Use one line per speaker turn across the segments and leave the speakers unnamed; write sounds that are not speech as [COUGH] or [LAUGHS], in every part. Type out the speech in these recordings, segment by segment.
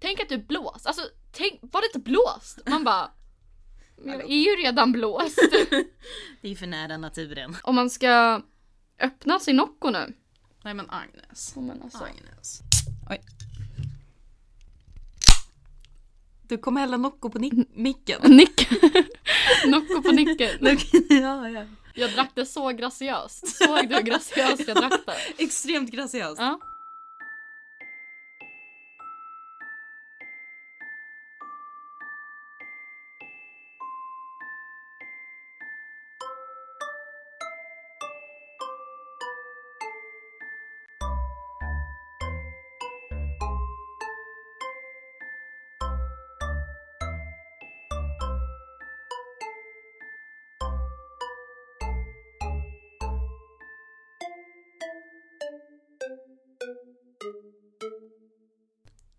tänk att du är blåst. Alltså tänk, var det inte blåst? Man bara, [LAUGHS] men jag är ju redan [LAUGHS] blåst.
Det är för nära naturen.
Om man ska öppna sin Nocco nu.
Nej men Agnes.
Ja, Men alltså.
Agnes. Oj. Du kommer hälla Nocco på nick- [LAUGHS] micken.
[LAUGHS] Nick. [LAUGHS] Nocco på [LAUGHS] nicken.
ja, ja.
Jag drack det så graciöst. Såg du hur graciöst jag drack det?
Extremt graciöst.
Ja.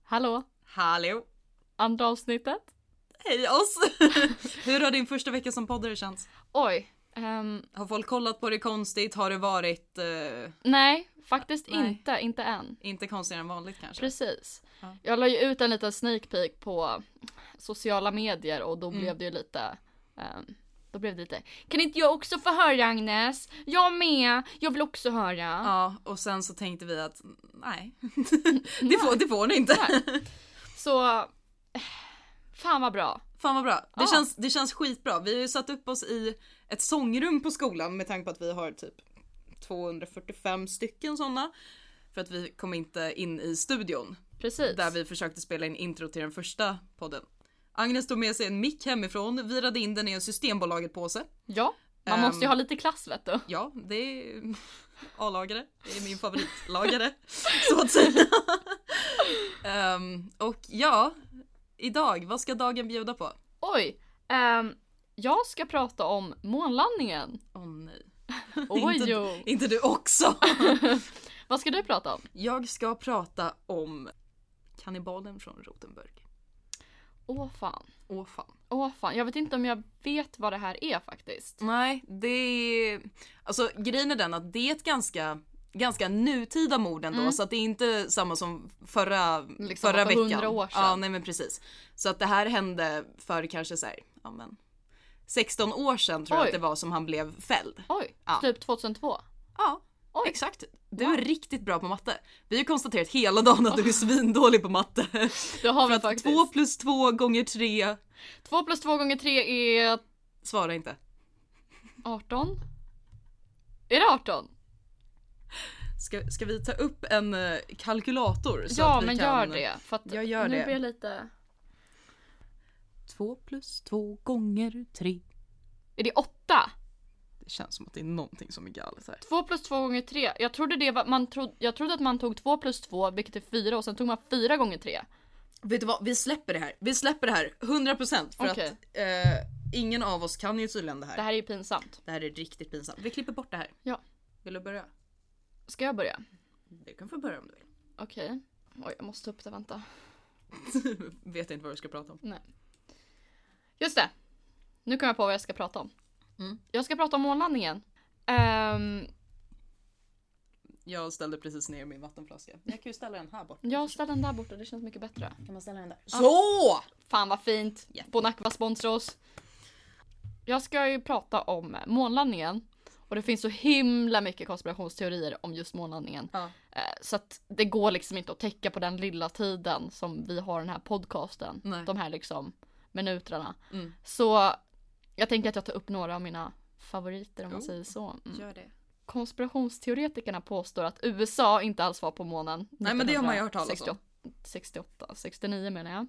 Hallå,
Hallå.
andra avsnittet.
Hej oss. [LAUGHS] Hur har din första vecka som poddare känts?
Oj. ehm,
Har folk kollat på det konstigt? Har det varit eh,
nej, faktiskt
Nej.
inte. Inte än.
inte konstigare än vanligt kanske?
Precis.
Ja.
Jag la ju ut en liten sneak peek på sociala medier och då
Mm.
blev det ju lite ehm, då blev det lite, kan inte jag också få höra Agnes? Jag med, jag vill också höra.
Ja, och sen så tänkte vi att nej, [LAUGHS] det, får, det får ni inte.
Så, eh, fan vad bra.
Fan vad bra. Det,
Ja.
känns, det känns skitbra. Vi har ju satt upp oss i ett sångrum på skolan med tanke på att vi har typ 245 stycken sådana. För att vi kom inte in i studion
Precis.
där vi försökte spela in intro till den första podden. Agnes tog med sig en mick hemifrån, virade in den i en Systembolaget-påse.
Ja, man
Ehm.
måste ju ha lite klass vet du.
Ja, det är [LAUGHS] A-lagare. Det är min favoritlagare, [LAUGHS] så att säga. [LAUGHS] Ehm, och ja, idag, vad ska dagen bjuda på?
Oj, ehm, jag ska prata om
[LAUGHS]
månlandningen.
Åh nej.
Oj
Inte-
jo.
Inte du också?
Vad ska du prata om?
Jag ska prata om kannibalen från Rotenburg.
Åh fan.
Åh fan.
Åh fan, jag vet inte om jag vet vad det här är faktiskt.
Nej, det är... Alltså grejen är den att det är ett ganska, ganska nutida mord ändå.
Mm.
Så att det är inte samma som förra,
Liksom
förra
för
veckan.
100 år sedan.
Ja, nej men precis. Så att det här hände för kanske så här, ja men 16 år sedan tror jag
Oj.
att det var som han blev fälld.
Oj,
Ja.
typ 2002.
Ja,
Oj.
exakt. Du är riktigt bra på matte. Vi har ju konstaterat hela
[LAUGHS]
dagen att du är svindålig på matte.
Det har
För
vi
att
faktiskt.
två
Två...
plus två gånger tre
plus två gånger tre är
Svara inte.
18. Är det 18?
Ska, ska vi ta upp en eh, kalkylator? Så
ja
att vi
men
kan...
gör det. För att
Jag gör
nu
det.
blir jag lite...
Två plus två gånger tre.
Är det 8?
Det känns som att det är någonting som är galet här.
2 plus 2 gånger 3. Jag trodde, det var, man trod, jag trodde att man tog 2 plus 2 vilket är 4 och sen tog man 4 gånger 3.
Vet du vad, vi släpper det här. Vi släpper det här 100% för
Okej.
att eh, ingen av oss kan ju tydligen det här.
Det här är ju pinsamt.
Det här är riktigt pinsamt. Vi klipper bort det här.
Ja.
Vill du börja?
Ska jag börja?
Du kan få börja om du vill. [LAUGHS]
Okej. Oj, jag måste ta upp det, vänta.
Vet inte vad du ska prata om.
Just det! Nu kommer jag på vad jag ska prata om.
Mm.
Jag ska prata om månlandningen. Ehm,
Jag ställde precis ner min vattenflaska. Jag kan ju ställa den här bort.
jag ställer den där borta, det känns mycket bättre.
Kan man ställa den där? Så!
Fan vad fint!
Jätte.
Bonacqua sponsrar oss. Jag ska ju prata om månlandningen. Och det finns så himla mycket konspirationsteorier om just månlandningen.
Ja.
Eh, Så att det går liksom inte att täcka på den lilla tiden som vi har den här podcasten.
Nej.
De här liksom minuterna.
Mm.
Så jag tänker att jag tar upp några av mina favoriter om man
Oh.
säger så. Mm.
Gör det.
Konspirationsteoretikerna påstår att USA inte alls var på månen.
Nej, men det har man ju hört talas om.
1968 68, 69 menar jag.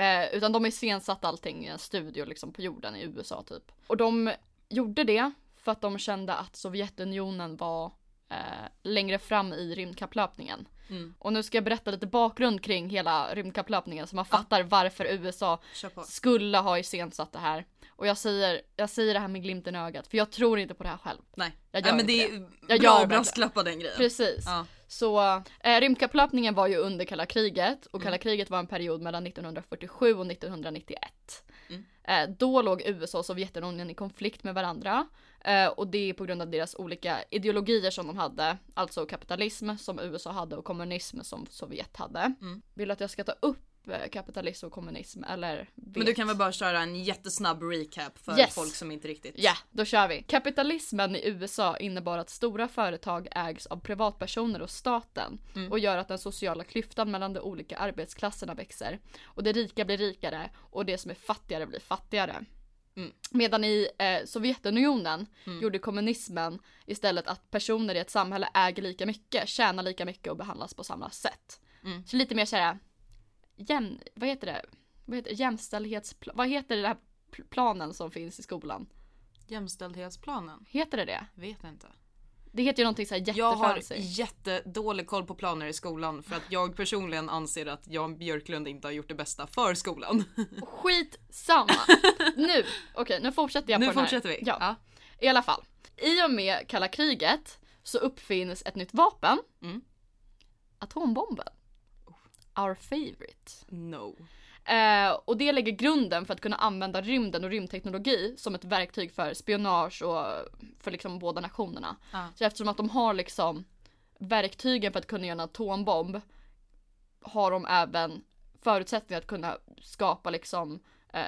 Eh, utan de iscensatte allting i en studio liksom på jorden i USA typ. Och de gjorde det för att de kände att Sovjetunionen var eh, längre fram i rymdkapplöpningen.
Mm.
Och nu ska jag berätta lite bakgrund kring hela rymdkapplöpningen så man fattar varför USA
Kör på.
skulle ha iscensatt det här. Och jag säger, jag säger det här med glimten i ögat för jag tror inte på det här själv.
Nej.
Jag
Nej
gör
men det
inte
är
Jag gör
bra
verkligen.
att brasklappa den grejen.
Precis.
Ja.
Så eh, rymdkapplöpningen var ju under kalla kriget och
Mm.
kalla kriget var en period mellan 1947 och 1991.
Mm.
Eh, då låg USA och Sovjetunionen i konflikt med varandra eh, och det är på grund av deras olika ideologier som de hade. Alltså kapitalism som USA hade och kommunism som Sovjet hade.
Mm.
Vill du att jag ska ta upp eh, kapitalism och kommunism eller vet.
Men du kan väl bara köra en jättesnabb recap för
Yes.
folk som inte riktigt...
Ja, då kör vi. Kapitalismen i USA innebar att stora företag ägs av privatpersoner och staten
Mm.
och gör att den sociala klyftan mellan de olika arbetsklasserna växer. Och de rika blir rikare och de som är fattigare blir fattigare.
Mm.
Medan i eh, Sovjetunionen gjorde kommunismen istället att personer i ett samhälle äger lika mycket, tjänar lika mycket och behandlas på samma sätt.
Mm.
Så lite mer såhär, jäm, vad heter det? Vad heter, jämställdhetsplan, vad heter den här pl- planen som finns i skolan?
Jämställdhetsplanen?
Heter det det?
Vet inte.
Det heter ju någonting såhär
Jag har
jättefancy.
jättedålig koll på planer i skolan för att jag personligen anser att Jan Björklund inte har gjort det bästa för skolan. [LAUGHS]
Skitsamma! nu, okej nu fortsätter jag
nu
på den här.
fortsätter vi.
Ja, i alla fall. I och med kalla kriget så uppfinns ett nytt vapen.
Mm.
Atombomben. Our favorite.
No.
Eh, och det lägger grunden för att kunna använda rymden och rymdteknologi som ett verktyg för spionage och för liksom båda nationerna.
Ja.
Så eftersom att de har liksom verktygen för att kunna göra en atombomb har de även förutsättningar att kunna skapa liksom eh,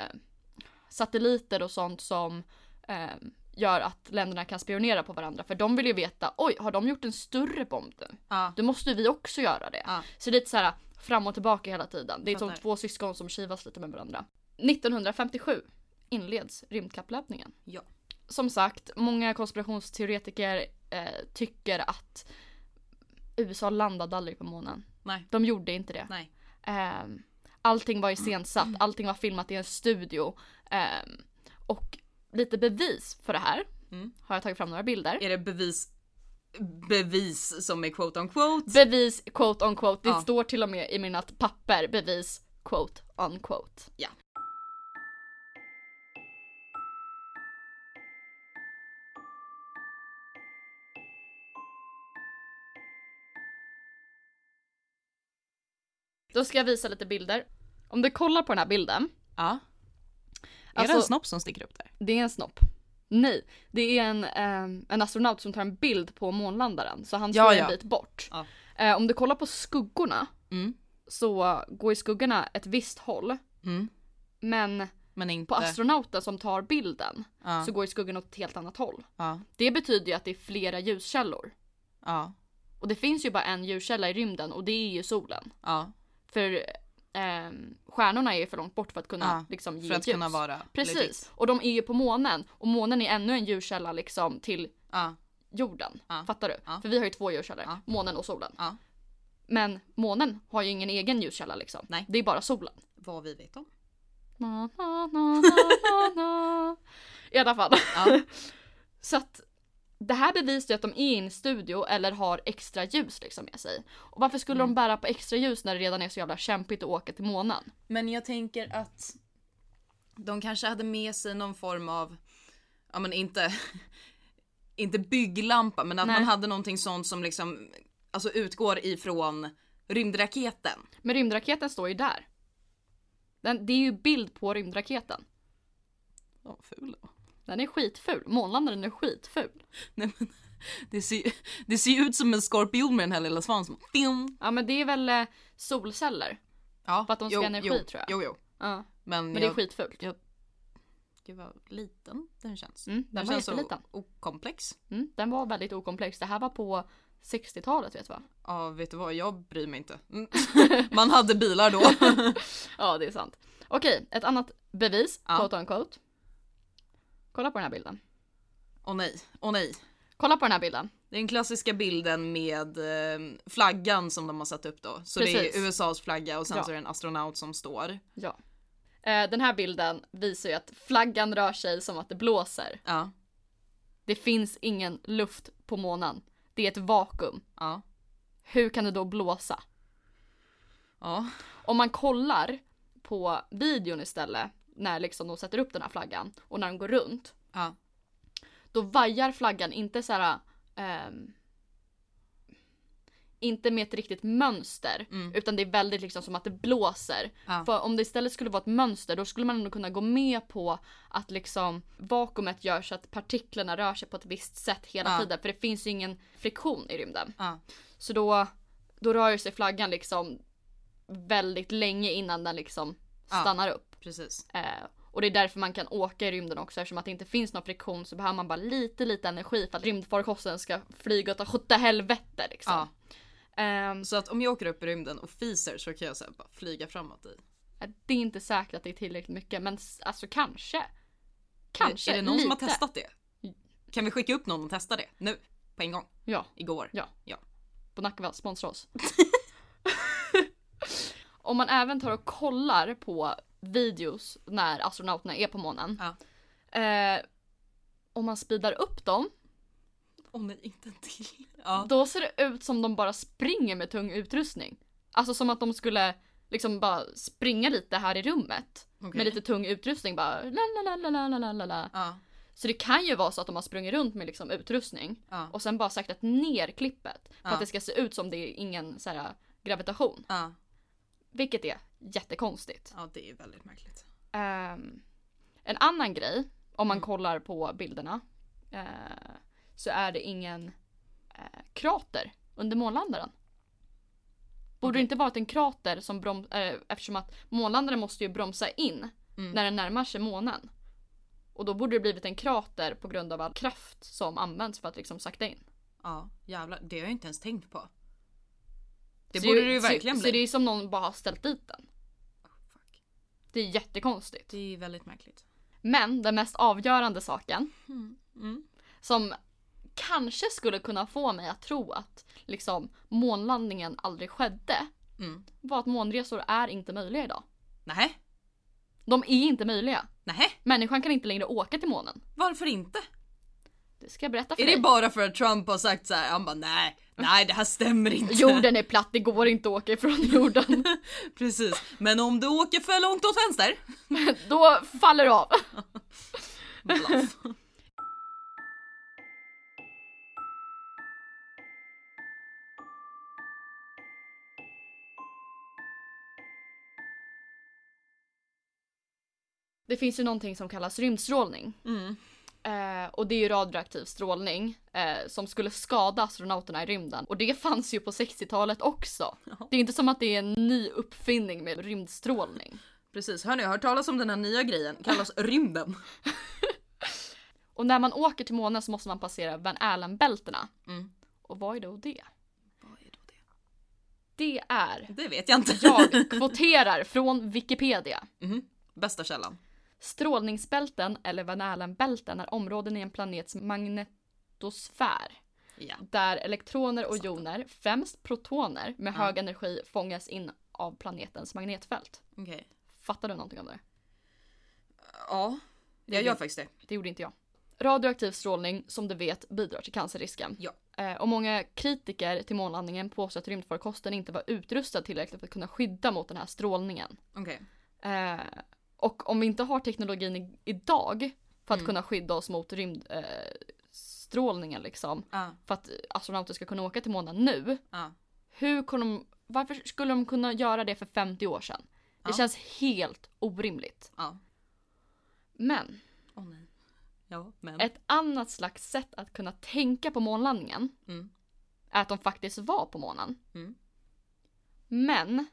satelliter och sånt som eh, gör att länderna kan spionera på varandra. För de vill ju veta, oj har de gjort en större bomb nu?
Ja.
Då måste ju vi också göra det.
Ja.
Så det är lite så här fram och tillbaka hela tiden. Det är som
Fattar.
två syskon som kivas lite med varandra. 1957 inleds rymdkapplöpningen.
Ja.
Som sagt, många konspirationsteoretiker eh, tycker att USA landade aldrig på månen.
Nej.
De gjorde inte det.
Nej. Mm.
Ehm, allting var iscensatt, allting var filmat i en studio. Ehm, och lite bevis för det här
Mm.
har jag tagit fram några bilder.
Är det bevis bevis som är quote on quote?
Bevis, quote on quote. Det
Ja.
står till och med i mina papper, bevis, quote on quote.
Ja.
Då ska jag visa lite bilder. Om du kollar på den här bilden,
Ja. Är
Alltså-
det en snopp som sticker upp där?
det är en snopp. Nej, det är en, ehm, en astronaut som tar en bild på månlandaren så han står
Ja,
en
ja.
bit bort.
Ja.
Eh, om du kollar på skuggorna
Mm.
så går ju skuggorna ett visst håll
Mm.
men
Men inte...
på astronauten som tar bilden
ja.
så går ju skuggan åt ett helt annat håll.
ja.
Det betyder ju att det är flera ljuskällor.
Ja.
Och det finns ju bara en ljuskälla i rymden och det är ju solen.
Ja.
För ehm, stjärnorna är ju för långt bort för att kunna
Ja,
liksom ge
För att
ljus.
kunna vara
Precis,
legit.
och de är ju på månen och månen är ännu en ljuskälla liksom till
Ja.
jorden.
Ja.
Fattar du?
Ja.
För vi har ju två ljuskällor,
Ja.
månen och solen.
Ja.
Men månen har ju ingen egen ljuskälla liksom.
Nej.
Det är bara solen.
Vad vi vet om.
Na, na, na, na, na. I alla fall.
Ja.
[LAUGHS] Så att det här bevisar ju att de är i en studio eller har extra ljus liksom med sig. Och varför skulle
Mm.
de bära på extra ljus när det redan är så jävla kämpigt att åka till månen?
Men jag tänker att de kanske hade med sig någon form av, ja men inte, [LAUGHS] inte bygglampa, men att
Nej.
man hade någonting sånt som liksom, alltså utgår ifrån rymdraketen.
Men rymdraketen står ju där. Den, det är ju bild på rymdraketen.
Ja, ful då.
Den är skitful. Månlandaren är skitful.
Nej men, [LAUGHS] det ser, ju- det ser ju ut som en skorpion med den här lilla svansen. som- Pim!
Ja men det är väl eh, solceller.
Ja,
För att de ska
jo,
ha energi,
jo,
tror jag.
Jo, jo.
Ja.
Men,
Men det är
jag,
skitfult.
gud vad liten den känns.
Mm, den var
känns så
jätteliten.
okomplex.
Mm, den var väldigt okomplex. Det här var på 60-talet vet du va?
Ja, vet du vad, jag bryr mig inte. Mm. Man hade bilar då. [LAUGHS]
Ja det är sant. Okej, ett annat bevis.
Ja.
Quote on quote. Kolla på den här bilden.
Åh nej, åh nej.
Kolla på den här bilden.
Den klassiska bilden med eh, flaggan som de har satt upp då. Så det
Precis.
är USAs flagga och sen
Ja.
så är det en astronaut som står.
Ja. Eh, den här bilden visar ju att flaggan rör sig som att det blåser.
Ja,
Det finns ingen luft på månen. Det är ett vakuum.
ja,
Hur kan det då blåsa?
ja.
Om man kollar på videon istället när liksom de sätter upp den här flaggan och när de går runt.
ja.
Då vajar flaggan inte så här. ehm, inte med ett riktigt mönster utan det är väldigt liksom som att det blåser.
Mm. Ja.
För om det istället skulle vara ett mönster då skulle man ändå kunna gå med på att liksom vakuumet gör så att partiklarna rör sig på ett visst sätt hela
Ja.
tiden för det finns ju ingen friktion i rymden.
ja.
Så då, då rör sig flaggan liksom väldigt länge innan den liksom
Ja.
stannar upp.
Precis.
Eh, och det är därför man kan åka i rymden också eftersom att det inte finns någon friktion så behöver man bara lite lite energi för att rymdfarkosten ska flyga åt sjutton helvete liksom.
Ja.
Ehm,
Så att om jag åker upp i rymden och fiser så kan jag så här bara flyga framåt i.
det är inte säkert att det är tillräckligt mycket men s- alltså kanske. Kanske
Är det någon
lite.
som har testat det? Kan vi skicka upp någon och testa det? Nu. På en gång.
Ja.
Igår.
Ja.
ja.
Bonacova, sponsra
[LAUGHS]
oss. Om man även tar och kollar på videos när astronauterna är på månen.
Ja.
Eh, om man speedar upp dem,
Åh nej, inte en till. Ja.
då ser det ut som de bara springer med tung utrustning. Alltså som att de skulle liksom bara springa lite här i rummet.
Okej.
Med lite tung utrustning bara la la la la la la la la.
Ja.
Så det kan ju vara så att de har sprungit runt med liksom utrustning
Ja.
och sen bara saktat ner klippet. För
Ja.
att det ska se ut som det är ingen så här, gravitation.
Ja.
Vilket är jättekonstigt.
ja, det är väldigt märkligt.
Ehm, en annan grej, om
Mm.
man kollar på bilderna, eh, så är det ingen eh, krater under månlandaren. Borde det inte varit en krater som broms- eh, eftersom att månlandaren måste ju bromsa in
Mm.
när den närmar sig månen. Och då borde det blivit en krater på grund av all kraft som används för att liksom sakta in.
Ja, jävlar. Det har jag inte ens tänkt på. Det
Så
borde det ju
så,
verkligen
så,
bli.
det är som någon bara har ställt dit den.
Fuck.
Det är jättekonstigt.
Det är väldigt märkligt.
Men den mest avgörande saken
Mm.
som kanske skulle kunna få mig att tro att liksom, månlandningen aldrig skedde
Mm.
var att månresor är inte möjliga idag.
Nej.
De är inte möjliga.
Nej.
Människan kan inte längre åka till månen.
Varför inte?
Det ska jag berätta för
Är
dig.
det bara för att Trump har sagt så här, han bara nej, nej det här stämmer inte.
Jorden är platt, det går inte att åka ifrån jorden.
[LAUGHS] Precis, men om du åker för långt åt vänster.
Då faller det av.
Bluff.
Det finns ju någonting som kallas rymdstrålning.
[LAUGHS] Mm.
Eh, och det är ju radioaktiv strålning eh, som skulle skada astronauterna i rymden. Och det fanns ju på 60-talet också. Det är inte som att det är en ny uppfinning med rymdstrålning.
Precis, hörni jag har hört talas om den här nya grejen, kallas rymden.
Och när man åker till månen så måste man passera Van Allen-bältena.
Mm.
Och vad är då det?
Vad är då det?
Det
[LAUGHS]
är
Det vet jag inte.
jag kvoterar från Wikipedia.
Mhm. [LAUGHS] Bästa källan.
Strålningsbälten eller Van Allen-bälten är områden i en planets magnetosfär
Ja.
där elektroner och
Sant.
joner, främst protoner, med
Ja.
hög energi fångas in av planetens magnetfält.
Okej.
Fattar du någonting om det?
Ja, jag gör faktiskt det.
Det gjorde inte jag. Radioaktiv strålning, som du vet, bidrar till cancerrisken.
Ja.
Eh, Och många kritiker till månlandningen påstår att rymdfarkosten inte var utrustad tillräckligt för att kunna skydda mot den här strålningen.
Okej.
Eh, Och om vi inte har teknologin i- idag för att
Mm.
kunna skydda oss mot rymdstrålningen eh, strålningen liksom,
Ja,
för att astronauter ska kunna åka till månen nu,
ja.
hur kunde de, varför skulle de kunna göra det för 50 år sedan? Det
Ja.
känns helt orimligt.
Ja.
Men
Åh nej. Ja, men.
Ett annat slags sätt att kunna tänka på månlandningen
Mm.
är att de faktiskt var på månen.
Mm.
Men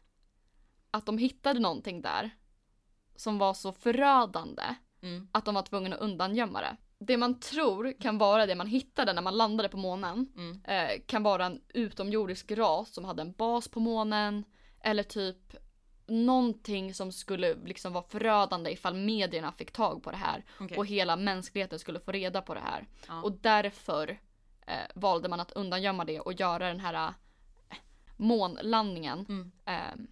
att de hittade någonting där som var så förödande
Mm.
att de var tvungna att undangömma det. Det man tror kan vara det man hittade när man landade på månen
Mm.
eh, kan vara en utomjordisk ras som hade en bas på månen eller typ någonting som skulle liksom vara förödande ifall medierna fick tag på det här
Okej.
och hela mänskligheten skulle få reda på det här.
Ja.
Och därför eh, valde man att undangömma det och göra den här eh, månlandningen
Mm.
eh,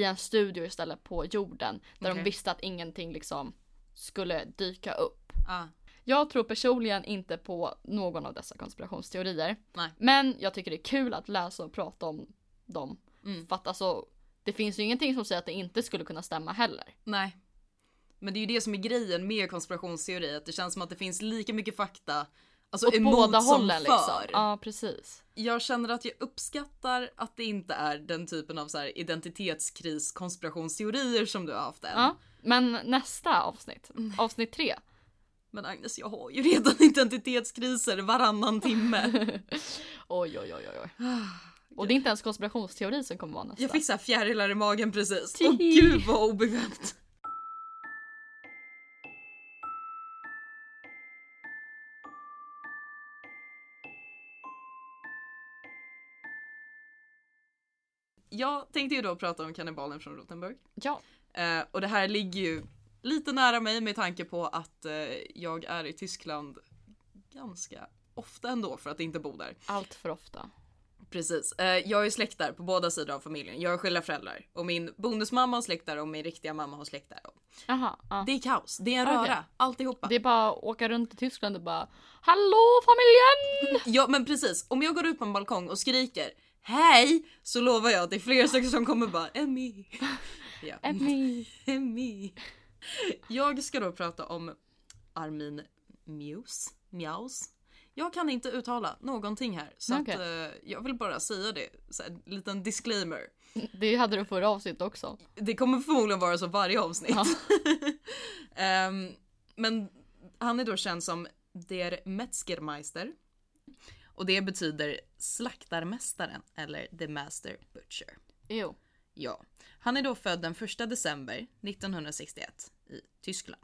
i en studio istället på jorden där de
Okej.
visste att ingenting liksom skulle dyka upp.
Ja.
Jag tror personligen inte på någon av dessa konspirationsteorier.
Nej.
Men jag tycker det är kul att läsa och prata om dem.
Mm.
För att alltså, det finns ju ingenting som säger att det inte skulle kunna stämma heller.
Nej. Men det är ju det som är grejen med konspirationsteori, att det känns som att det finns lika mycket fakta alltså
Åt
emot
båda
som
hållen
för.
liksom. Ja, precis.
Jag känner att jag uppskattar att det inte är den typen av så här identitetskris konspirationsteorier som du har haft än.
Ja, men nästa avsnitt, avsnitt [LAUGHS] tre.
Men Agnes, jag har ju
[LAUGHS]
[LAUGHS] redan identitetskriser varannan timme.
Oj, oj, oj, oj, oj. Och det är inte ens konspirationsteori som kommer vara nästa.
Jag fick så här fjärilar i magen precis.
Tihi.
Åh gud vad obekvämt. Jag tänkte ju då prata om kannibalen från Rotenburg.
Ja,
Eh, och det här ligger ju lite nära mig med tanke på att eh, jag är i Tyskland ganska ofta ändå för att inte bo där.
allt för ofta.
Precis. Eh, Jag är släkt där på båda sidor av familjen. Jag har skilda föräldrar. Och min bonusmamma har släkt där och min riktiga mamma har släkt där.
Jaha, ja.
Det är kaos. Det är en
Okej.
röra. Alltihopa.
Det är bara att åka runt i Tyskland och bara Hallå familjen!
Ja men precis. Om jag går ut på en balkong och skriker Hej! Så lovar jag att det är flera stycken som kommer
[LAUGHS]
bara Emmy. Ja.
Mm. Emmy!
Emmy. Jag ska då prata om Armin Mews. Mjaus. Jag kan inte uttala någonting här. Så
Okej.
att, eh, jag vill bara säga det. Så här, en liten disclaimer.
Det hade du förra avsnittet också.
Det kommer förmodligen vara så varje avsnitt.
Ja.
[LAUGHS] Ehm, men han är då känd som Der Metzgermeister. Och det betyder slaktarmästaren eller The Master Butcher.
Jo.
Ja. Han är då född den 1 december 1961 i Tyskland.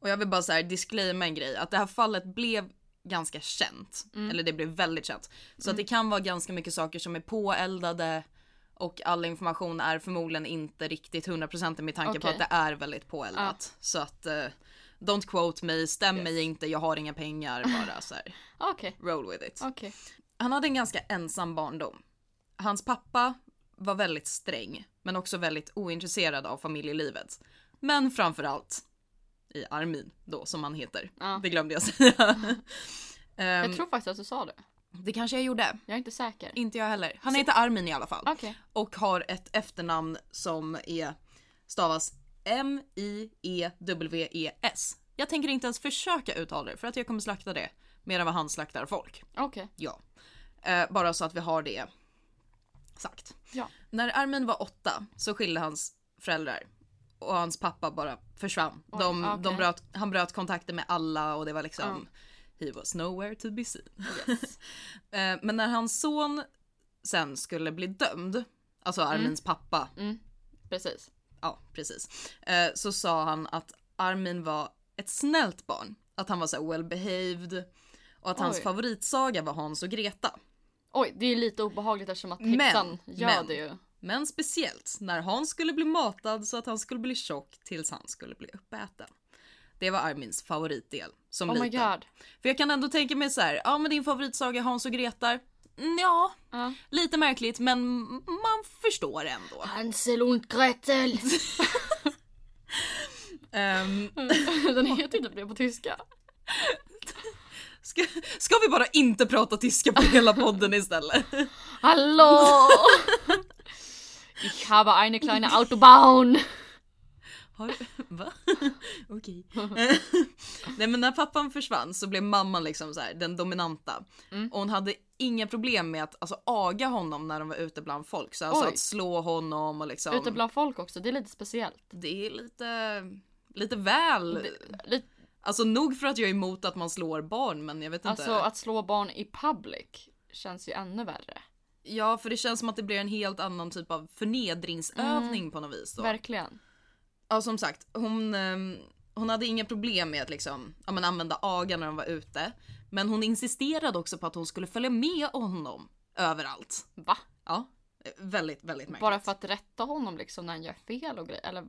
Och jag vill bara så här disclaima en grej, att det här fallet blev ganska känt. Eller det blev väldigt känt. Så att det kan vara ganska mycket saker som är påeldade och all information är förmodligen inte riktigt 100% med tanke på
Okej.
att det är väldigt påeldat. Så att eh, don't quote me, stäm mig inte, jag har inga pengar, bara så här,
Okej.
roll with it.
Okej.
Han hade en ganska ensam barndom. Hans pappa var väldigt sträng, men också väldigt ointresserad av familjelivet. Men framförallt i Armin då, som han heter.
Ja.
Det glömde jag [LAUGHS] säga. Ehm,
Jag tror faktiskt att du sa det.
Det kanske jag gjorde.
Jag är inte säker.
Inte jag heller. Han heter Armin i alla fall.
Okej.
Och har ett efternamn som är stavas E M-I-E-W-E-S. Jag tänker inte ens försöka uttala det för att jag kommer slakta det mer än vad han slaktar folk.
Okej.
Ja. Eh, bara så att vi har det sagt.
Ja.
När Armin var åtta så skilde hans föräldrar och hans pappa bara försvann. de,
okej.
de bröt, han bröt kontakter med alla och det var liksom He was nowhere to be seen. [LAUGHS] Eh, Men när hans son sen skulle bli dömd, alltså
Mm.
Armins pappa,
Precis.
ja precis, eh, så sa han att Armin var ett snällt barn. Att han var så här well behaved och att hans
Oj.
favoritsaga var Hans och Greta.
Oj, det är lite obehagligt eftersom att
Men,
häxan gör
men.
det ju.
Men speciellt när Hans skulle bli matad så att han skulle bli tjock tills han skulle bli uppäten. Det var Armins favoritdel som
Oh my
liten.
god.
För jag kan ändå tänka mig så här, ja men din favoritsaga Hans och Greta, mm, ja,
Ja.
lite märkligt men man förstår ändå.
Hansel und Gretel.
Ehm,
[LAUGHS] Den heter ju typ det på tyska.
ska, ska vi bara inte prata tyska på hela podden istället?
Hallå! [LAUGHS] Ich habe eine kleine Autobahn.
Har, [LAUGHS]
[LAUGHS]
va? Okej. [LAUGHS] Nej men när pappan försvann så blev mamman liksom så här, den dominanta.
Mm.
Och hon hade inga problem med att alltså, aga honom när de var ute bland folk. Så alltså
Oj.
att slå honom och
[LAUGHS]
liksom.
Ute bland folk också, det är lite speciellt.
Det är lite, lite väl.
Lite,
Alltså nog för att jag är emot att man slår barn men jag vet
alltså
inte.
att slå barn i public känns ju ännu värre.
Ja för det känns som att det blir en helt annan typ av förnedringsövning
Mm.
på något vis. Då.
Verkligen.
Ja som sagt, hon, ehm, hon hade inga problem med att liksom, ja, men använda aga när de var ute. Men hon insisterade också på att hon skulle följa med honom överallt.
Va?
Ja, eh, väldigt, väldigt märkligt.
Bara för att rätta honom liksom när han gör fel och grejer. Eller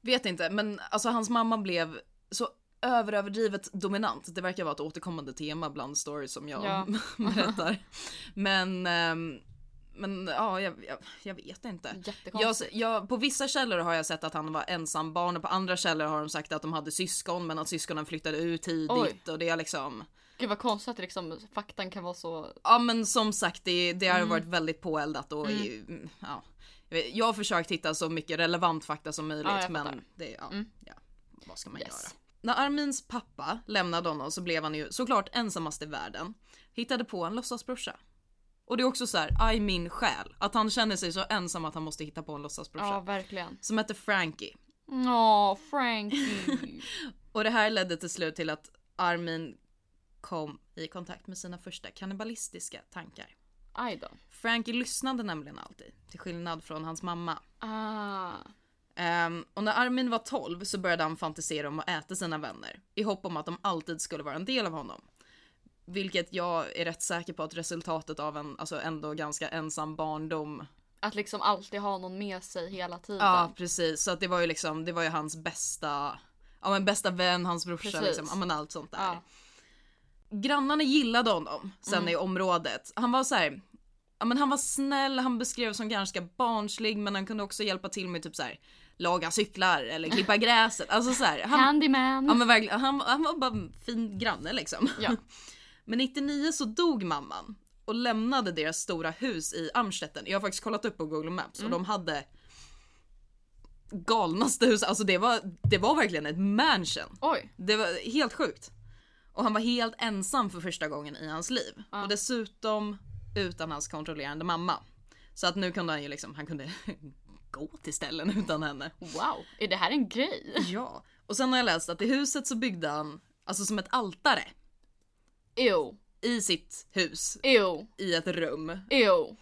Vet inte, men alltså hans mamma blev så överöverdrivet dominant. Det verkar vara ett återkommande tema bland stories som jag
Ja.
[LAUGHS] berättar. Men, ehm, men ja, jag, jag, jag vet inte. Jag,
jättekonstigt.
jag, på vissa källor har jag sett att han var ensam barn och på andra källor har de sagt att de hade syskon men att syskonen flyttade ut tidigt
Oj.
och det är liksom
Gud vad konstigt att liksom, faktan kan vara så...
Ja men som sagt det, det
Mm.
har varit väldigt påeldat och i- mm, ja. Jag vet- Jag har försökt hitta så mycket relevant fakta som möjligt
Ja, jag fattar. Mm.
men det, ja, ja, vad ska man
Yes.
göra? När Armins pappa lämnade honom så blev han ju såklart ensammast i världen. Hittade på en låtsasbrorsa. Och det är också så här, aj min själ. Att han känner sig så ensam att han måste hitta på en låtsasbrorsa.
Ja, verkligen.
Som hette Frankie.
Åh, [LAUGHS] Frankie.
Och det här ledde till slut till att Armin kom i kontakt med sina första kannibalistiska tankar.
Aj då.
Frankie lyssnade nämligen alltid, till skillnad från hans mamma.
Ah.
Ehm, och när Armin var 12 så började han fantisera om att äta sina vänner i hopp om att de alltid skulle vara en del av honom. Vilket jag är rätt säker på att resultatet av en alltså ändå ganska ensam barndom.
Att liksom alltid ha någon med sig hela tiden.
Ja precis, så att det var ju liksom, det var ju hans bästa, ja men bästa vän, hans brorsa
Precis.
liksom, ja men allt sånt där.
Ja. Mm.
Grannarna gillade honom sen i området. Han var så här, ja men han var snäll, han beskrevs som ganska barnslig men han kunde också hjälpa till med typ så här laga cyklar eller
[LAUGHS]
klippa gräset. Alltså så här, han,
Candyman.
ja, men verkligen, han, han var bara en fin granne liksom.
Ja.
Men 99 så dog mamman och lämnade deras stora hus i Amstetten. Jag har faktiskt kollat upp på Google Maps och de hade galnaste hus, alltså det var, det var verkligen ett mansion.
Oj.
Det var helt sjukt. Och han var helt ensam för första gången i hans liv. Och dessutom utan hans kontrollerande mamma. Så att nu kunde han ju liksom, han kunde [LAUGHS] gå till ställen utan henne.
Wow. Är det här en grej?
Ja. Och sen har jag läst att i huset så byggde han, alltså som ett altare,
Ew.
i sitt hus,
Ew.
i ett rum.
Ew.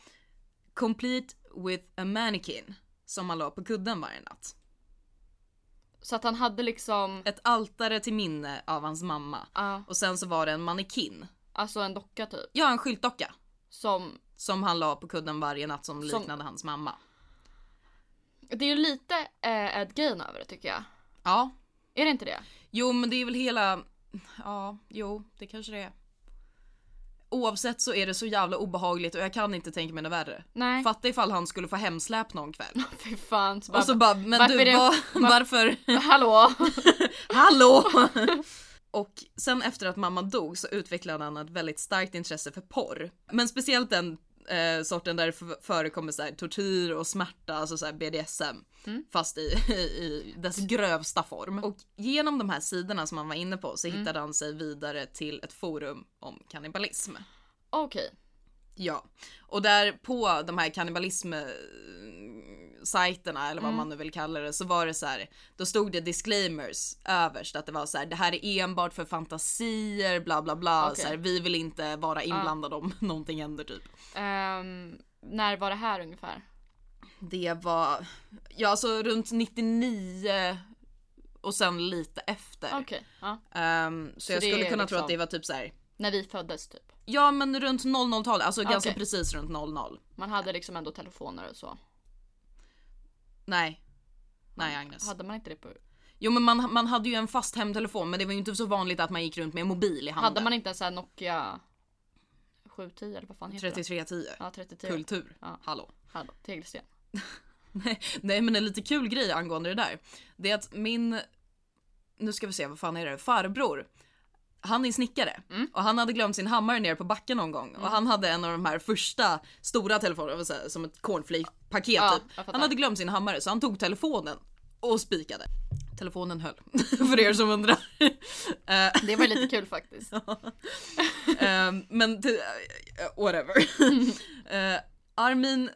Complete with a mannequin, som han la på kudden varje natt.
Så att han hade liksom,
Ett altare till minne av hans mamma.
ja,
Och sen så var det en mannequin,
alltså en docka typ.
ja en skyltdocka.
Som,
Som han la på kudden varje natt som liknade hans mamma.
det är ju lite eh, Ed Gein över det tycker jag.
Ja.
Är det inte det?
Jo men det är väl hela... Ja, jo det kanske det är. Oavsett så är det så jävla obehagligt och jag kan inte tänka mig något värre.
Nej.
Fatta ifall han skulle få hemsläp någon kväll.
[LAUGHS] Fy fan. Så bara,
Och så bara, men
varför
du
är det-
vad,
[LAUGHS]
varför?
Hallå!
Hallå! [LAUGHS] och sen efter att mamma dog så utvecklade han ett väldigt starkt intresse för porr. Men speciellt den eh, sorten där det f- förekommer så här, tortyr och smärta, alltså så här BDSM. Fast i, [LAUGHS] i, i dess grövsta form. Och genom de här sidorna som han var inne på så hittade han sig vidare till ett forum om kannibalism.
Okej.
Ja, och där på de här kannibalism-sajterna eller vad
Mm.
man nu vill kalla det så var det så här, då stod det disclaimers överst att det var så här, det här är enbart för fantasier, bla bla bla,
Okej. Ah.
så här, vi vill inte vara inblandade om [LAUGHS] någonting händer typ.
Ehm, när var det här ungefär?
Det var, ja alltså runt 99 och sen lite efter.
Okej. Ja.
Ehm, så, jag
det
skulle
är
kunna tro
liksom-
att det var typ så här.
När vi föddes typ.
ja men runt 00-talet, alltså ganska
Okej.
precis runt 00.
Man hade liksom ändå telefoner och så.
Nej. Nej Agnes.
Hade man inte det på...
Jo men man, man hade ju en fast hemtelefon men det var ju inte så vanligt att man gick runt med en mobil i handen.
Hade man inte en sån här Nokia 710 eller vad fan heter det?
3310.
Ja 33.
Kultur.
Ja.
Hallå. [LAUGHS]
Hallå, tegelsten.
Nej men en lite kul grej angående det där. Det är att min, nu ska vi se vad fan är det, farbror. Han är snickare
Mm.
och han hade glömt sin hammare ner på backen någon gång och han hade en av de här första stora telefonerna, vad säger jag, som ett cornflake-paket
Ja, jag
typ.
fattar.
Han hade glömt sin hammare så han tog telefonen och spikade. Telefonen höll, [LAUGHS] för er som undrar. [LAUGHS] Eh,
Det var ju lite kul faktiskt.
Ehm, men t- eh, whatever. Eh, Armin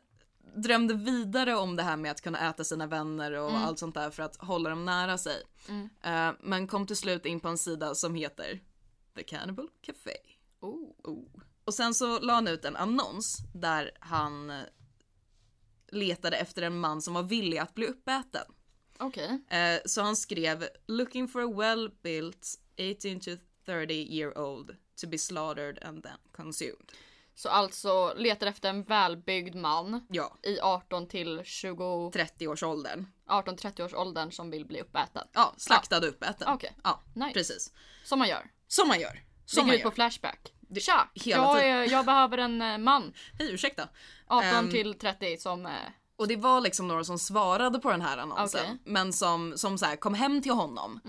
drömde vidare om det här med att kunna äta sina vänner och allt sånt där för att hålla dem nära sig. Eh, men kom till slut in på en sida som heter The Cannibal Café.
Oh.
Och sen så la han ut en annons där han eh, letade efter en man som var villig att bli uppäten.
Okej.
Eh, så han skrev “Looking for a well-built 18 to 30 year old to be slaughtered and then consumed”.
Så alltså letar efter en välbyggd man
Ja,
i 18 till 20,
30-årsåldern.
18-30 års åldern som vill bli uppäten.
Ja, slaktad och uppäten.
Okej.
Ja,
Nice.
precis.
Som man gör.
Som man gör. Som
Ligger
man
ut
gör.
på Flashback. Tja!
hela
Jag,
tiden.
är, jag behöver en eh, man.
Hej, ursäkta.
18
Ehm.
till 30 som... eh,
Och det var liksom några som svarade på den här annonsen.
Okej. Mm.
Men som, som så här, kom hem till honom.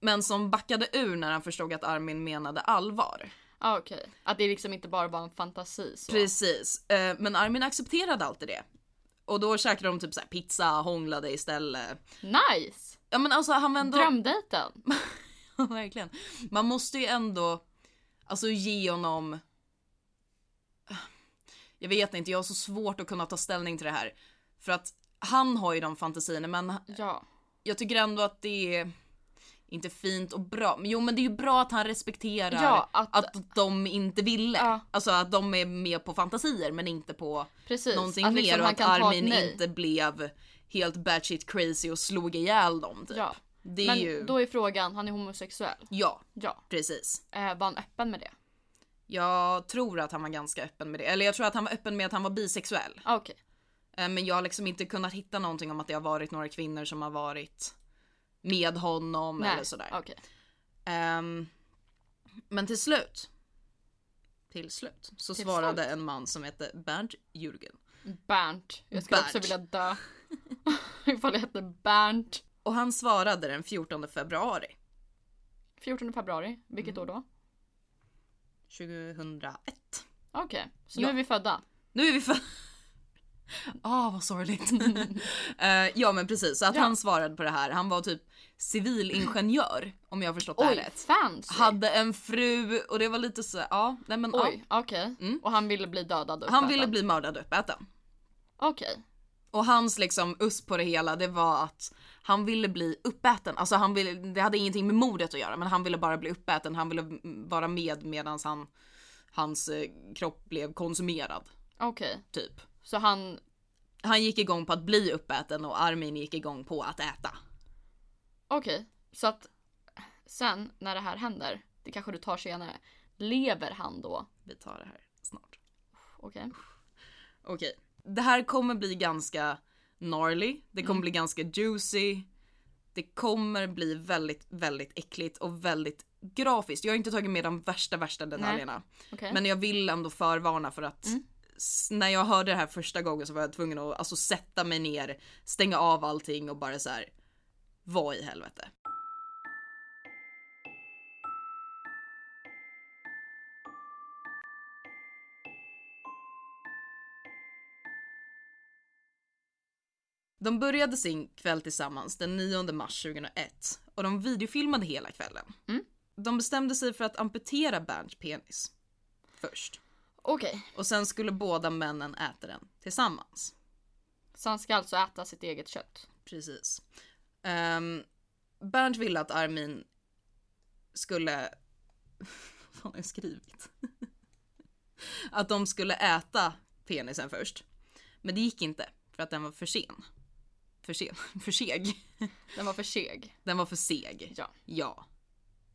Men som backade ur när han förstod att Armin menade allvar.
Ja ah, okej. Att det liksom inte bara var en fantasi så.
Precis. Eh, Men Armin accepterade alltid det. Och då käkade de typ så här pizza, hånglade istället.
Nice!
Ja men alltså han vände...
Drömdejten.
[LAUGHS] Ja, verkligen. Man måste ju ändå alltså, ge honom... Jag vet inte, jag har så svårt att kunna ta ställning till det här. För att han har ju de fantasierna men
Ja.
jag tycker ändå att det är inte fint och bra. Men jo men det är ju bra att han respekterar
Ja, att-
att, de inte ville.
Ja.
Alltså att de är med på fantasier men inte på
Precis.
någonting
att
mer.
liksom
och
han
att
kan ta ett
Armin
nej.
inte blev helt batshit crazy och slog ihjäl dem typ.
Ja.
Det är
Men
ju...
då är frågan, han är homosexuell.
Ja,
Ja.
precis.
Eh, var han öppen med det?
Jag tror att han var ganska öppen med det. Eller jag tror att han var öppen med att han var bisexuell.
Ah, Okej.
Eh, Men jag har liksom inte kunnat hitta någonting om att det har varit några kvinnor som har varit med honom
Nej.
eller sådär.
Okej.
Ehm, men till slut. Till slut så
Till
svarade en man som hette Bernd Jürgen.
Bernt. Jag skulle också
Bernt.
vilja dö. [LAUGHS] Ifall jag hette Bernt.
Och han svarade den 14 februari
14 februari,
Mm.
vilket år då?
2001.
Okej, så
Ja.
nu är vi födda.
Nu är vi för... [LAUGHS] Ah,
[LAUGHS]
vad sorgligt. Eh, ja, men precis. Så att
Ja.
han svarade på det här. Han var typ civilingenjör, om jag har förstått det här
Oj,
rätt.
fancy!
Hade en fru och det var lite så, ja, nej men ja.
Oj, okej. Och han ville bli dödad och
Mm. Han
uppäten.
ville bli mördad och uppäten.
Okej.
Och hans liksom USP på det hela det var att han ville bli uppäten. Alltså han ville, det hade ingenting med mordet att göra men han ville bara bli uppäten. Han ville mm, vara med medan han, hans eh, kropp blev konsumerad.
Okej.
Typ.
Så han...
Han gick igång på att bli uppäten och Armin gick igång på att äta.
Okej. Så att sen när det här händer, det kanske du tar senare, lever han då?
Vi tar det här snart.
Okej.
Okej. Det här kommer bli ganska gnarly. Det kommer bli ganska juicy. Det kommer bli väldigt, väldigt äckligt och väldigt grafiskt. Jag har inte tagit med de värsta, värsta detaljerna.
Okej. Mm.
Men jag vill ändå förvarna för att s- när jag hörde det här första gången så var jag tvungen att alltså, sätta mig ner, stänga av allting och bara så här. Vad i helvete? De började sin kväll tillsammans den 9 mars 2001 och de videofilmade hela kvällen.
Mm.
De bestämde sig för att amputera Bernts penis först.
Okej.
Och sen skulle båda männen äta den tillsammans.
Så han ska alltså äta sitt eget kött?
Precis. Um, Bernt ville att Armin skulle... [LAUGHS] Vad fan har jag skrivit? [LAUGHS] att de skulle äta penisen först. Men det gick inte för att den var för sen. För sen? [LAUGHS] För seg.
Den var för seg.
Den var för seg.
Ja.
Ja.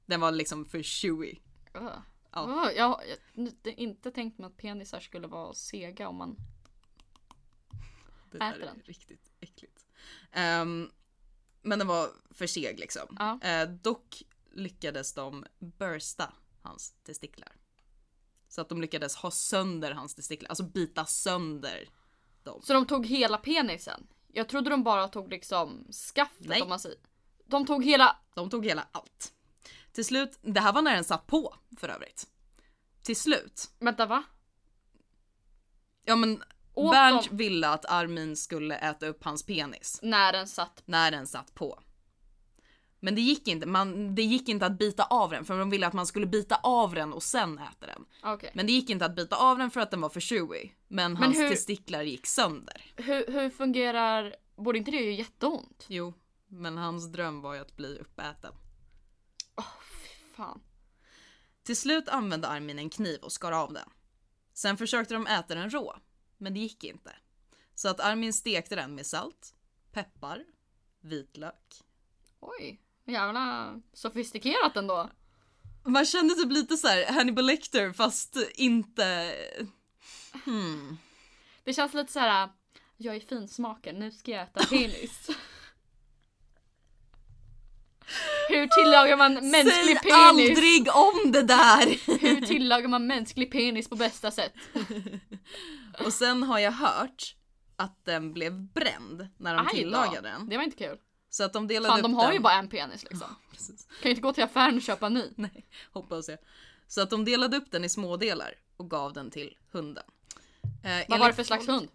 Den var liksom för chewy.
Ugh.
Ja.
Ugh, jag har jag- nu- det är inte tänkt mig att penisar skulle vara sega om man...
Det
Äter
där
den.
är riktigt äckligt. Ehm, men den var för seg liksom.
Ja.
Eh, dock lyckades de bursta hans testiklar. Så att de lyckades ha sönder hans testiklar, alltså bita sönder dem.
Så de tog hela penisen? Jag trodde de bara tog liksom skaftet
Nej.
om man säger. De tog hela...
De tog hela allt. Till slut, det här var när den satt på för övrigt. Till slut,
Vänta va?
ja men
Åt
Bernt
dem
ville att Armin skulle äta upp hans penis.
när den satt...
när den satt på. Men det gick inte, man, det gick inte att bita av den för de ville att man skulle bita av den och sen äta den.
Okej.
Men det gick inte att bita av den för att den var för chewy. Men, hans
hur-
testiklar gick sönder.
Hur, hur fungerar... Borde inte det göra jätteont?
Jo, men hans dröm var ju att bli uppäten.
Fan.
Till slut använde Armin en kniv och skar av den. Sen försökte de äta den rå, men det gick inte. Så att Armin stekte den med salt, peppar, vitlök.
Oj. Jävla sofistikerat ändå.
Man kände typ lite så här Hannibal Lecter fast inte
Det känns lite så här. Jag är finsmaken, nu ska jag
[LAUGHS]
äta penis. Hur tillagar man mänsklig
Säg
penis?
aldrig om det där!
Hur tillagar man mänsklig penis på bästa sätt?
[LAUGHS] Och sen har jag hört att den blev bränd när de
Aj då.
tillagade den.
Det var inte kul.
Så att de delade
Fan
upp
de har
den.
ju bara en penis liksom.
[LAUGHS] Precis.
Kan ju inte gå till affären och köpa en ny.
Nej, hoppas jag. Så att de delade upp den i smådelar och gav den till hunden. Eh,
Vad
enligt
var det för slags
folk-
hund?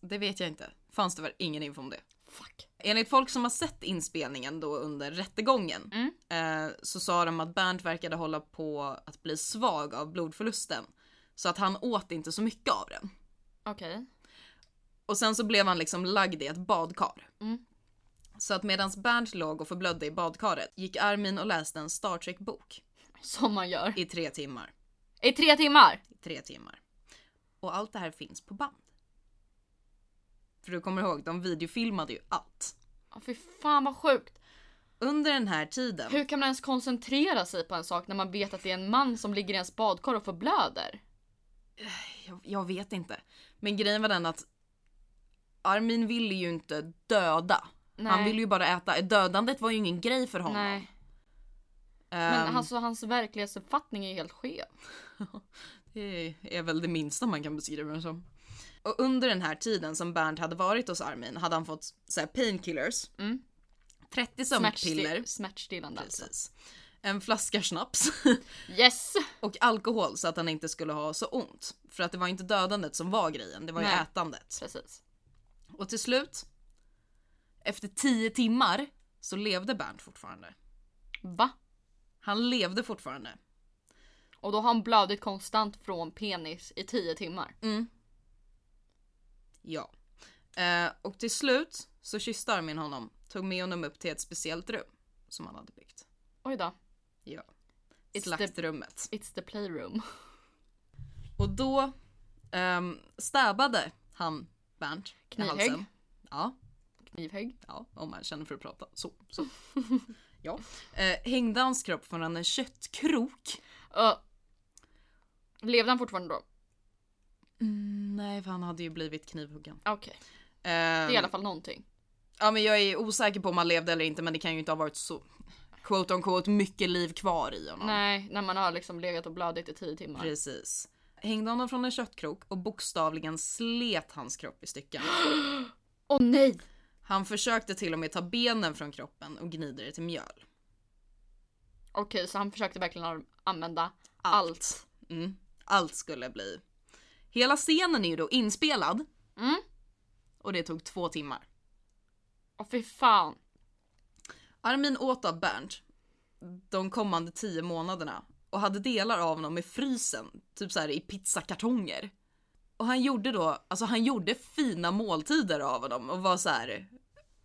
Det vet jag inte. Fanns det väl ingen info om det.
Fuck.
Enligt folk som har sett inspelningen då under rättegången
Mm.
eh, så sa de att Bernt verkade hålla på att bli svag av blodförlusten. Så att han åt inte så mycket av den.
Okej.
Och sen så blev han liksom lagd i ett badkar.
Mm.
Så att medan Bernt låg och förblödde i badkaret gick Armin och läste en Star Trek-bok
Som man gör.
i tre timmar.
I tre timmar!
I tre timmar. Och allt det här finns på band. För du kommer ihåg, de videofilmade ju allt.
Oh, fy fan vad sjukt.
Under den här tiden
Hur kan man ens koncentrera sig på en sak när man vet att det är en man som ligger i ens badkar och förblöder?
jag, jag vet inte. Men grejen var den att Armin ville ju inte döda. Han
Nej.
ville ju bara äta. Dödandet var ju ingen grej för honom.
Nej. Men
Ehm,
alltså, hans verklighetsuppfattning är ju helt skev.
Det är väl det minsta man kan beskriva det som. Och under den här tiden som Bernt hade varit hos Armin hade han fått så här painkillers,
Mm.
30 sömnpiller,
Smärtstill- smärtstillande. alltså.
precis, en flaska schnapps
Yes!
[LAUGHS] och alkohol så att han inte skulle ha så ont. För att det var inte dödandet som var grejen, det var ju
Nej.
ätandet.
Precis.
Och till slut, efter 10 timmar, så levde Bernt fortfarande.
Va?
Han levde fortfarande.
Och då har han blödigt konstant från penis i tio timmar.
Ja. Eh, och till slut så kysste Armin honom, tog med honom upp till ett speciellt rum som han hade byggt.
Oj då.
Ja.
It's
Slaktrummet.
It's the playroom. [LAUGHS]
Och då um, stäbade han Bernt i
Knivhugg.
halsen. Ja,
Knivhög.
ja, om man känner för att prata. Så, så. [LAUGHS] ja. Eh, hängde hans kropp från en köttkrok.
Uh. Levde han fortfarande då?
Mm, nej, för han hade ju blivit knivhuggen.
Okej. Det är
Ehm,
i alla fall någonting.
Ja, men jag är osäker på om han levde eller inte, men det kan ju inte ha varit så quote on quote mycket liv kvar i honom.
Nej, när man har liksom legat och blödigt i tio timmar.
Precis. Hängde honom från en köttkrok och bokstavligen slet hans kropp i stycken.
Åh nej!
Han försökte till och med ta benen från kroppen och gnida det till mjöl.
Okej, så han försökte verkligen an- använda
Allt.
allt.
Mm. Allt skulle bli. Hela scenen är ju då inspelad
Mm.
och det tog två timmar.
Åh fy fan.
Armin åt av Bernt de kommande tio månaderna och hade delar av honom i frysen, typ så här i pizzakartonger. Och han gjorde då, alltså han gjorde fina måltider av honom och var så här,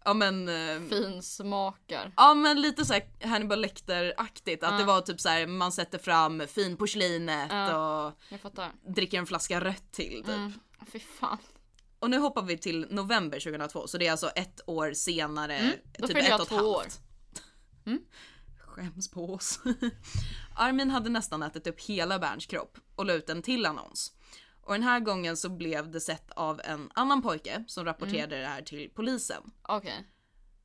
ja men eh,
Finsmakar.
Ja men lite så här Hannibal Lecter-aktigt. Att det var typ så här man sätter fram fin porslinet och
Jag fattar.
dricker en flaska rött till typ.
Mm. Åh, Fy fan.
Och nu hoppar vi till november 2002 så det är alltså ett år senare.
Mm.
typ
då fyllde jag två år.
Mm. Skäms på oss. [LAUGHS] Armin hade nästan ätit upp hela Berns kropp och la ut en till annons. Och den här gången så blev det sett av en annan pojke som rapporterade
Mm.
det här till polisen.
Okej,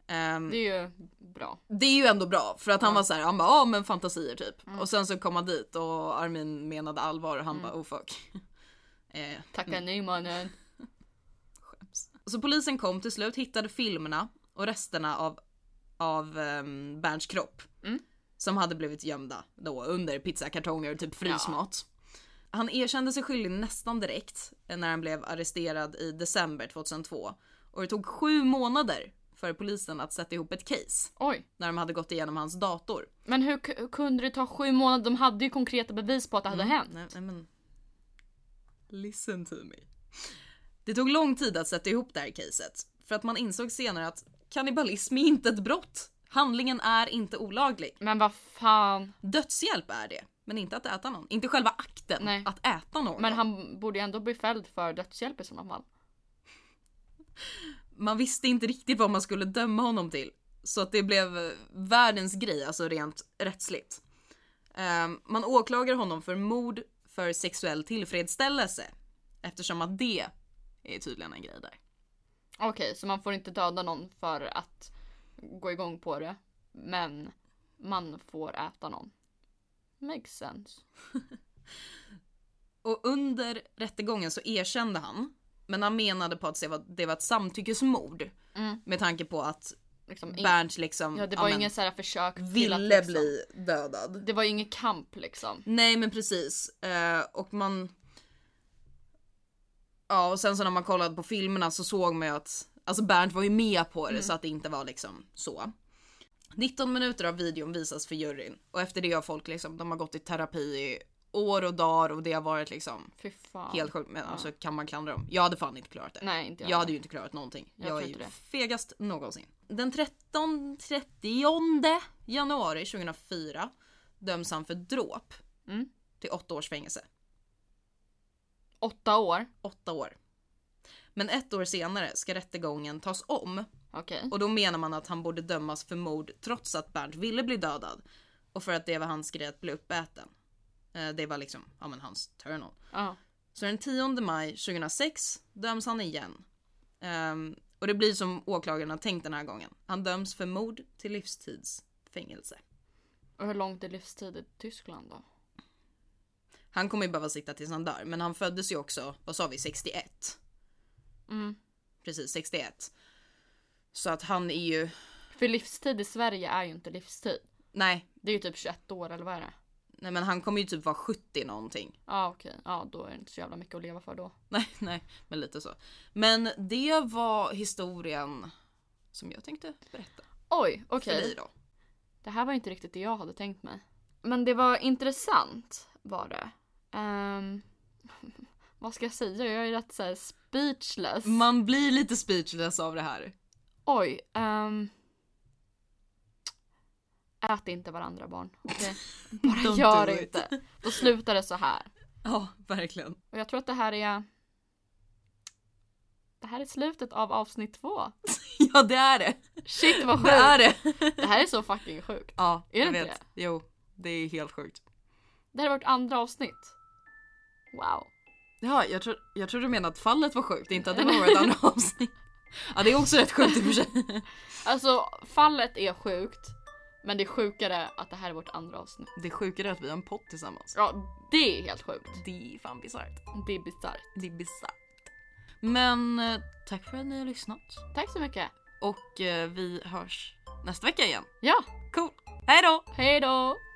Ehm,
det är ju bra.
Det är ju ändå bra för att han var så här, han bara ja men fantasier typ. Och sen så kom han dit och Armin menade allvar och han bara oh fuck. [LAUGHS] eh,
Tacka nej mannen.
skäms. Så polisen kom till slut, hittade filmerna och resterna av, av um, Berns kropp. Som hade blivit gömda då under pizzakartonger och typ frysmat. Han erkände sig skyldig nästan direkt eh, när han blev arresterad i december 2002. Och det tog sju månader för polisen att sätta ihop ett case
Oj.
när de hade gått igenom hans dator.
Men hur k- kunde det ta sju månader? De hade ju konkreta bevis på att det hade hänt.
Nej, nej men. Listen to me. Det tog lång tid att sätta ihop det här caset. För att man insåg senare att kannibalism är inte ett brott. Handlingen är inte olaglig.
Men vad fan.
Dödshjälp är det, men inte att äta någon. Inte själva akten
Nej.
att äta någon.
Men han borde ju ändå bli fälld för dödshjälp i sådana fall.
Man visste inte riktigt vad man skulle döma honom till. Så att det blev eh, världens grej, alltså rent rättsligt. Ehm, man åklagar honom för mord för sexuell tillfredsställelse. Eftersom att det är tydligen en grej där.
Okej, så man får inte döda någon för att gå igång på det. Men man får äta någon. Makes sense.
Och under rättegången så erkände han. Men han menade på att det var, det var ett samtyckesmord.
Mm.
Med tanke på att
Liksom, ing-
Bernt liksom
ja, det var
ja, men,
inget så här försök till att
ville
liksom,
bli dödad.
Det var ju ingen kamp liksom.
Nej men precis. Eh, och man... Ja och sen så när man kollade på filmerna så såg man ju att Alltså Bernt var ju med på det
Mm.
så att det inte var liksom så. 19 minuter av videon visas för juryn och efter det har folk liksom, de har gått i terapi i år och dagar och det har varit liksom
Fy fan.
helt sjukt. Men alltså kan man klandra dem? Jag hade fan inte klarat det.
Nej inte jag.
Jag hade ju inte klarat någonting.
Jag
Jag, är
tror
ju
inte det.
fegast någonsin. Den 13, 30 januari 2004 döms han för dråp
Mm.
till åtta års fängelse.
Åtta år.
Åtta år. Men ett år senare ska rättegången tas om
Okej.
och då menar man att han borde dömas för mord trots att Bernt ville bli dödad och för att det var hans grej att bli uppäten. Eh, Det var liksom, ja men hans turn-on.
Ja.
Så den 10 maj 2006 döms han igen. Ehm, och det blir som åklagaren har tänkt den här gången. Han döms för mord till livstidsfängelse.
Och hur långt är livstid i Tyskland då?
Han kommer ju behöva sitta tills han dör, men han föddes ju också, vad sa vi, 61?
Mm.
Precis, 61. Så att han är ju,
För livstid i Sverige är ju inte livstid.
nej,
Det är ju typ 21 år eller vad är det?
nej men han kommer ju typ vara 70 någonting. [LAUGHS]
Ja okej, ja då är det inte så jävla mycket att leva för då.
Nej, nej, men lite så. Men det var historien som jag tänkte berätta
Oj,
för
okej.
dig då.
Det här var inte riktigt det jag hade tänkt mig. Men det var intressant var det. Ehm, [LAUGHS] vad ska jag säga? Jag är rätt såhär speechless.
Man blir lite speechless av det här.
Oj. ehm. ät inte varandra barn. Okej? Bara
[LAUGHS] Don't
gör
do
det
it.
inte. Då slutar det så här.
Ja, verkligen. [LAUGHS]
Och jag tror att det här är... Det här är slutet av avsnitt två.
Ja det är det.
Shit vad
[LAUGHS] Det
sjukt.
är det.
Det här är så fucking sjukt.
Ja,
Är det
jag
inte
vet. Jo, det är helt sjukt.
Det här är vårt andra avsnitt. Wow.
Ja, jag tror, jag tror du menar att fallet var sjukt, inte att det [LAUGHS] var ett andra avsnitt. Ja det är också rätt sjukt i och för sig.
Alltså fallet är sjukt. Men det är sjukare att det här är vårt andra avsnitt.
Det sjuka är att vi har en pott tillsammans.
Ja, det är helt sjukt.
Det är fan bisarrt.
Det är bisarrt.
Det är bisarrt. Men eh, tack för att ni har lyssnat.
Tack så mycket.
Och eh, vi hörs nästa vecka igen.
Ja,
Cool. Hej då!
hej då!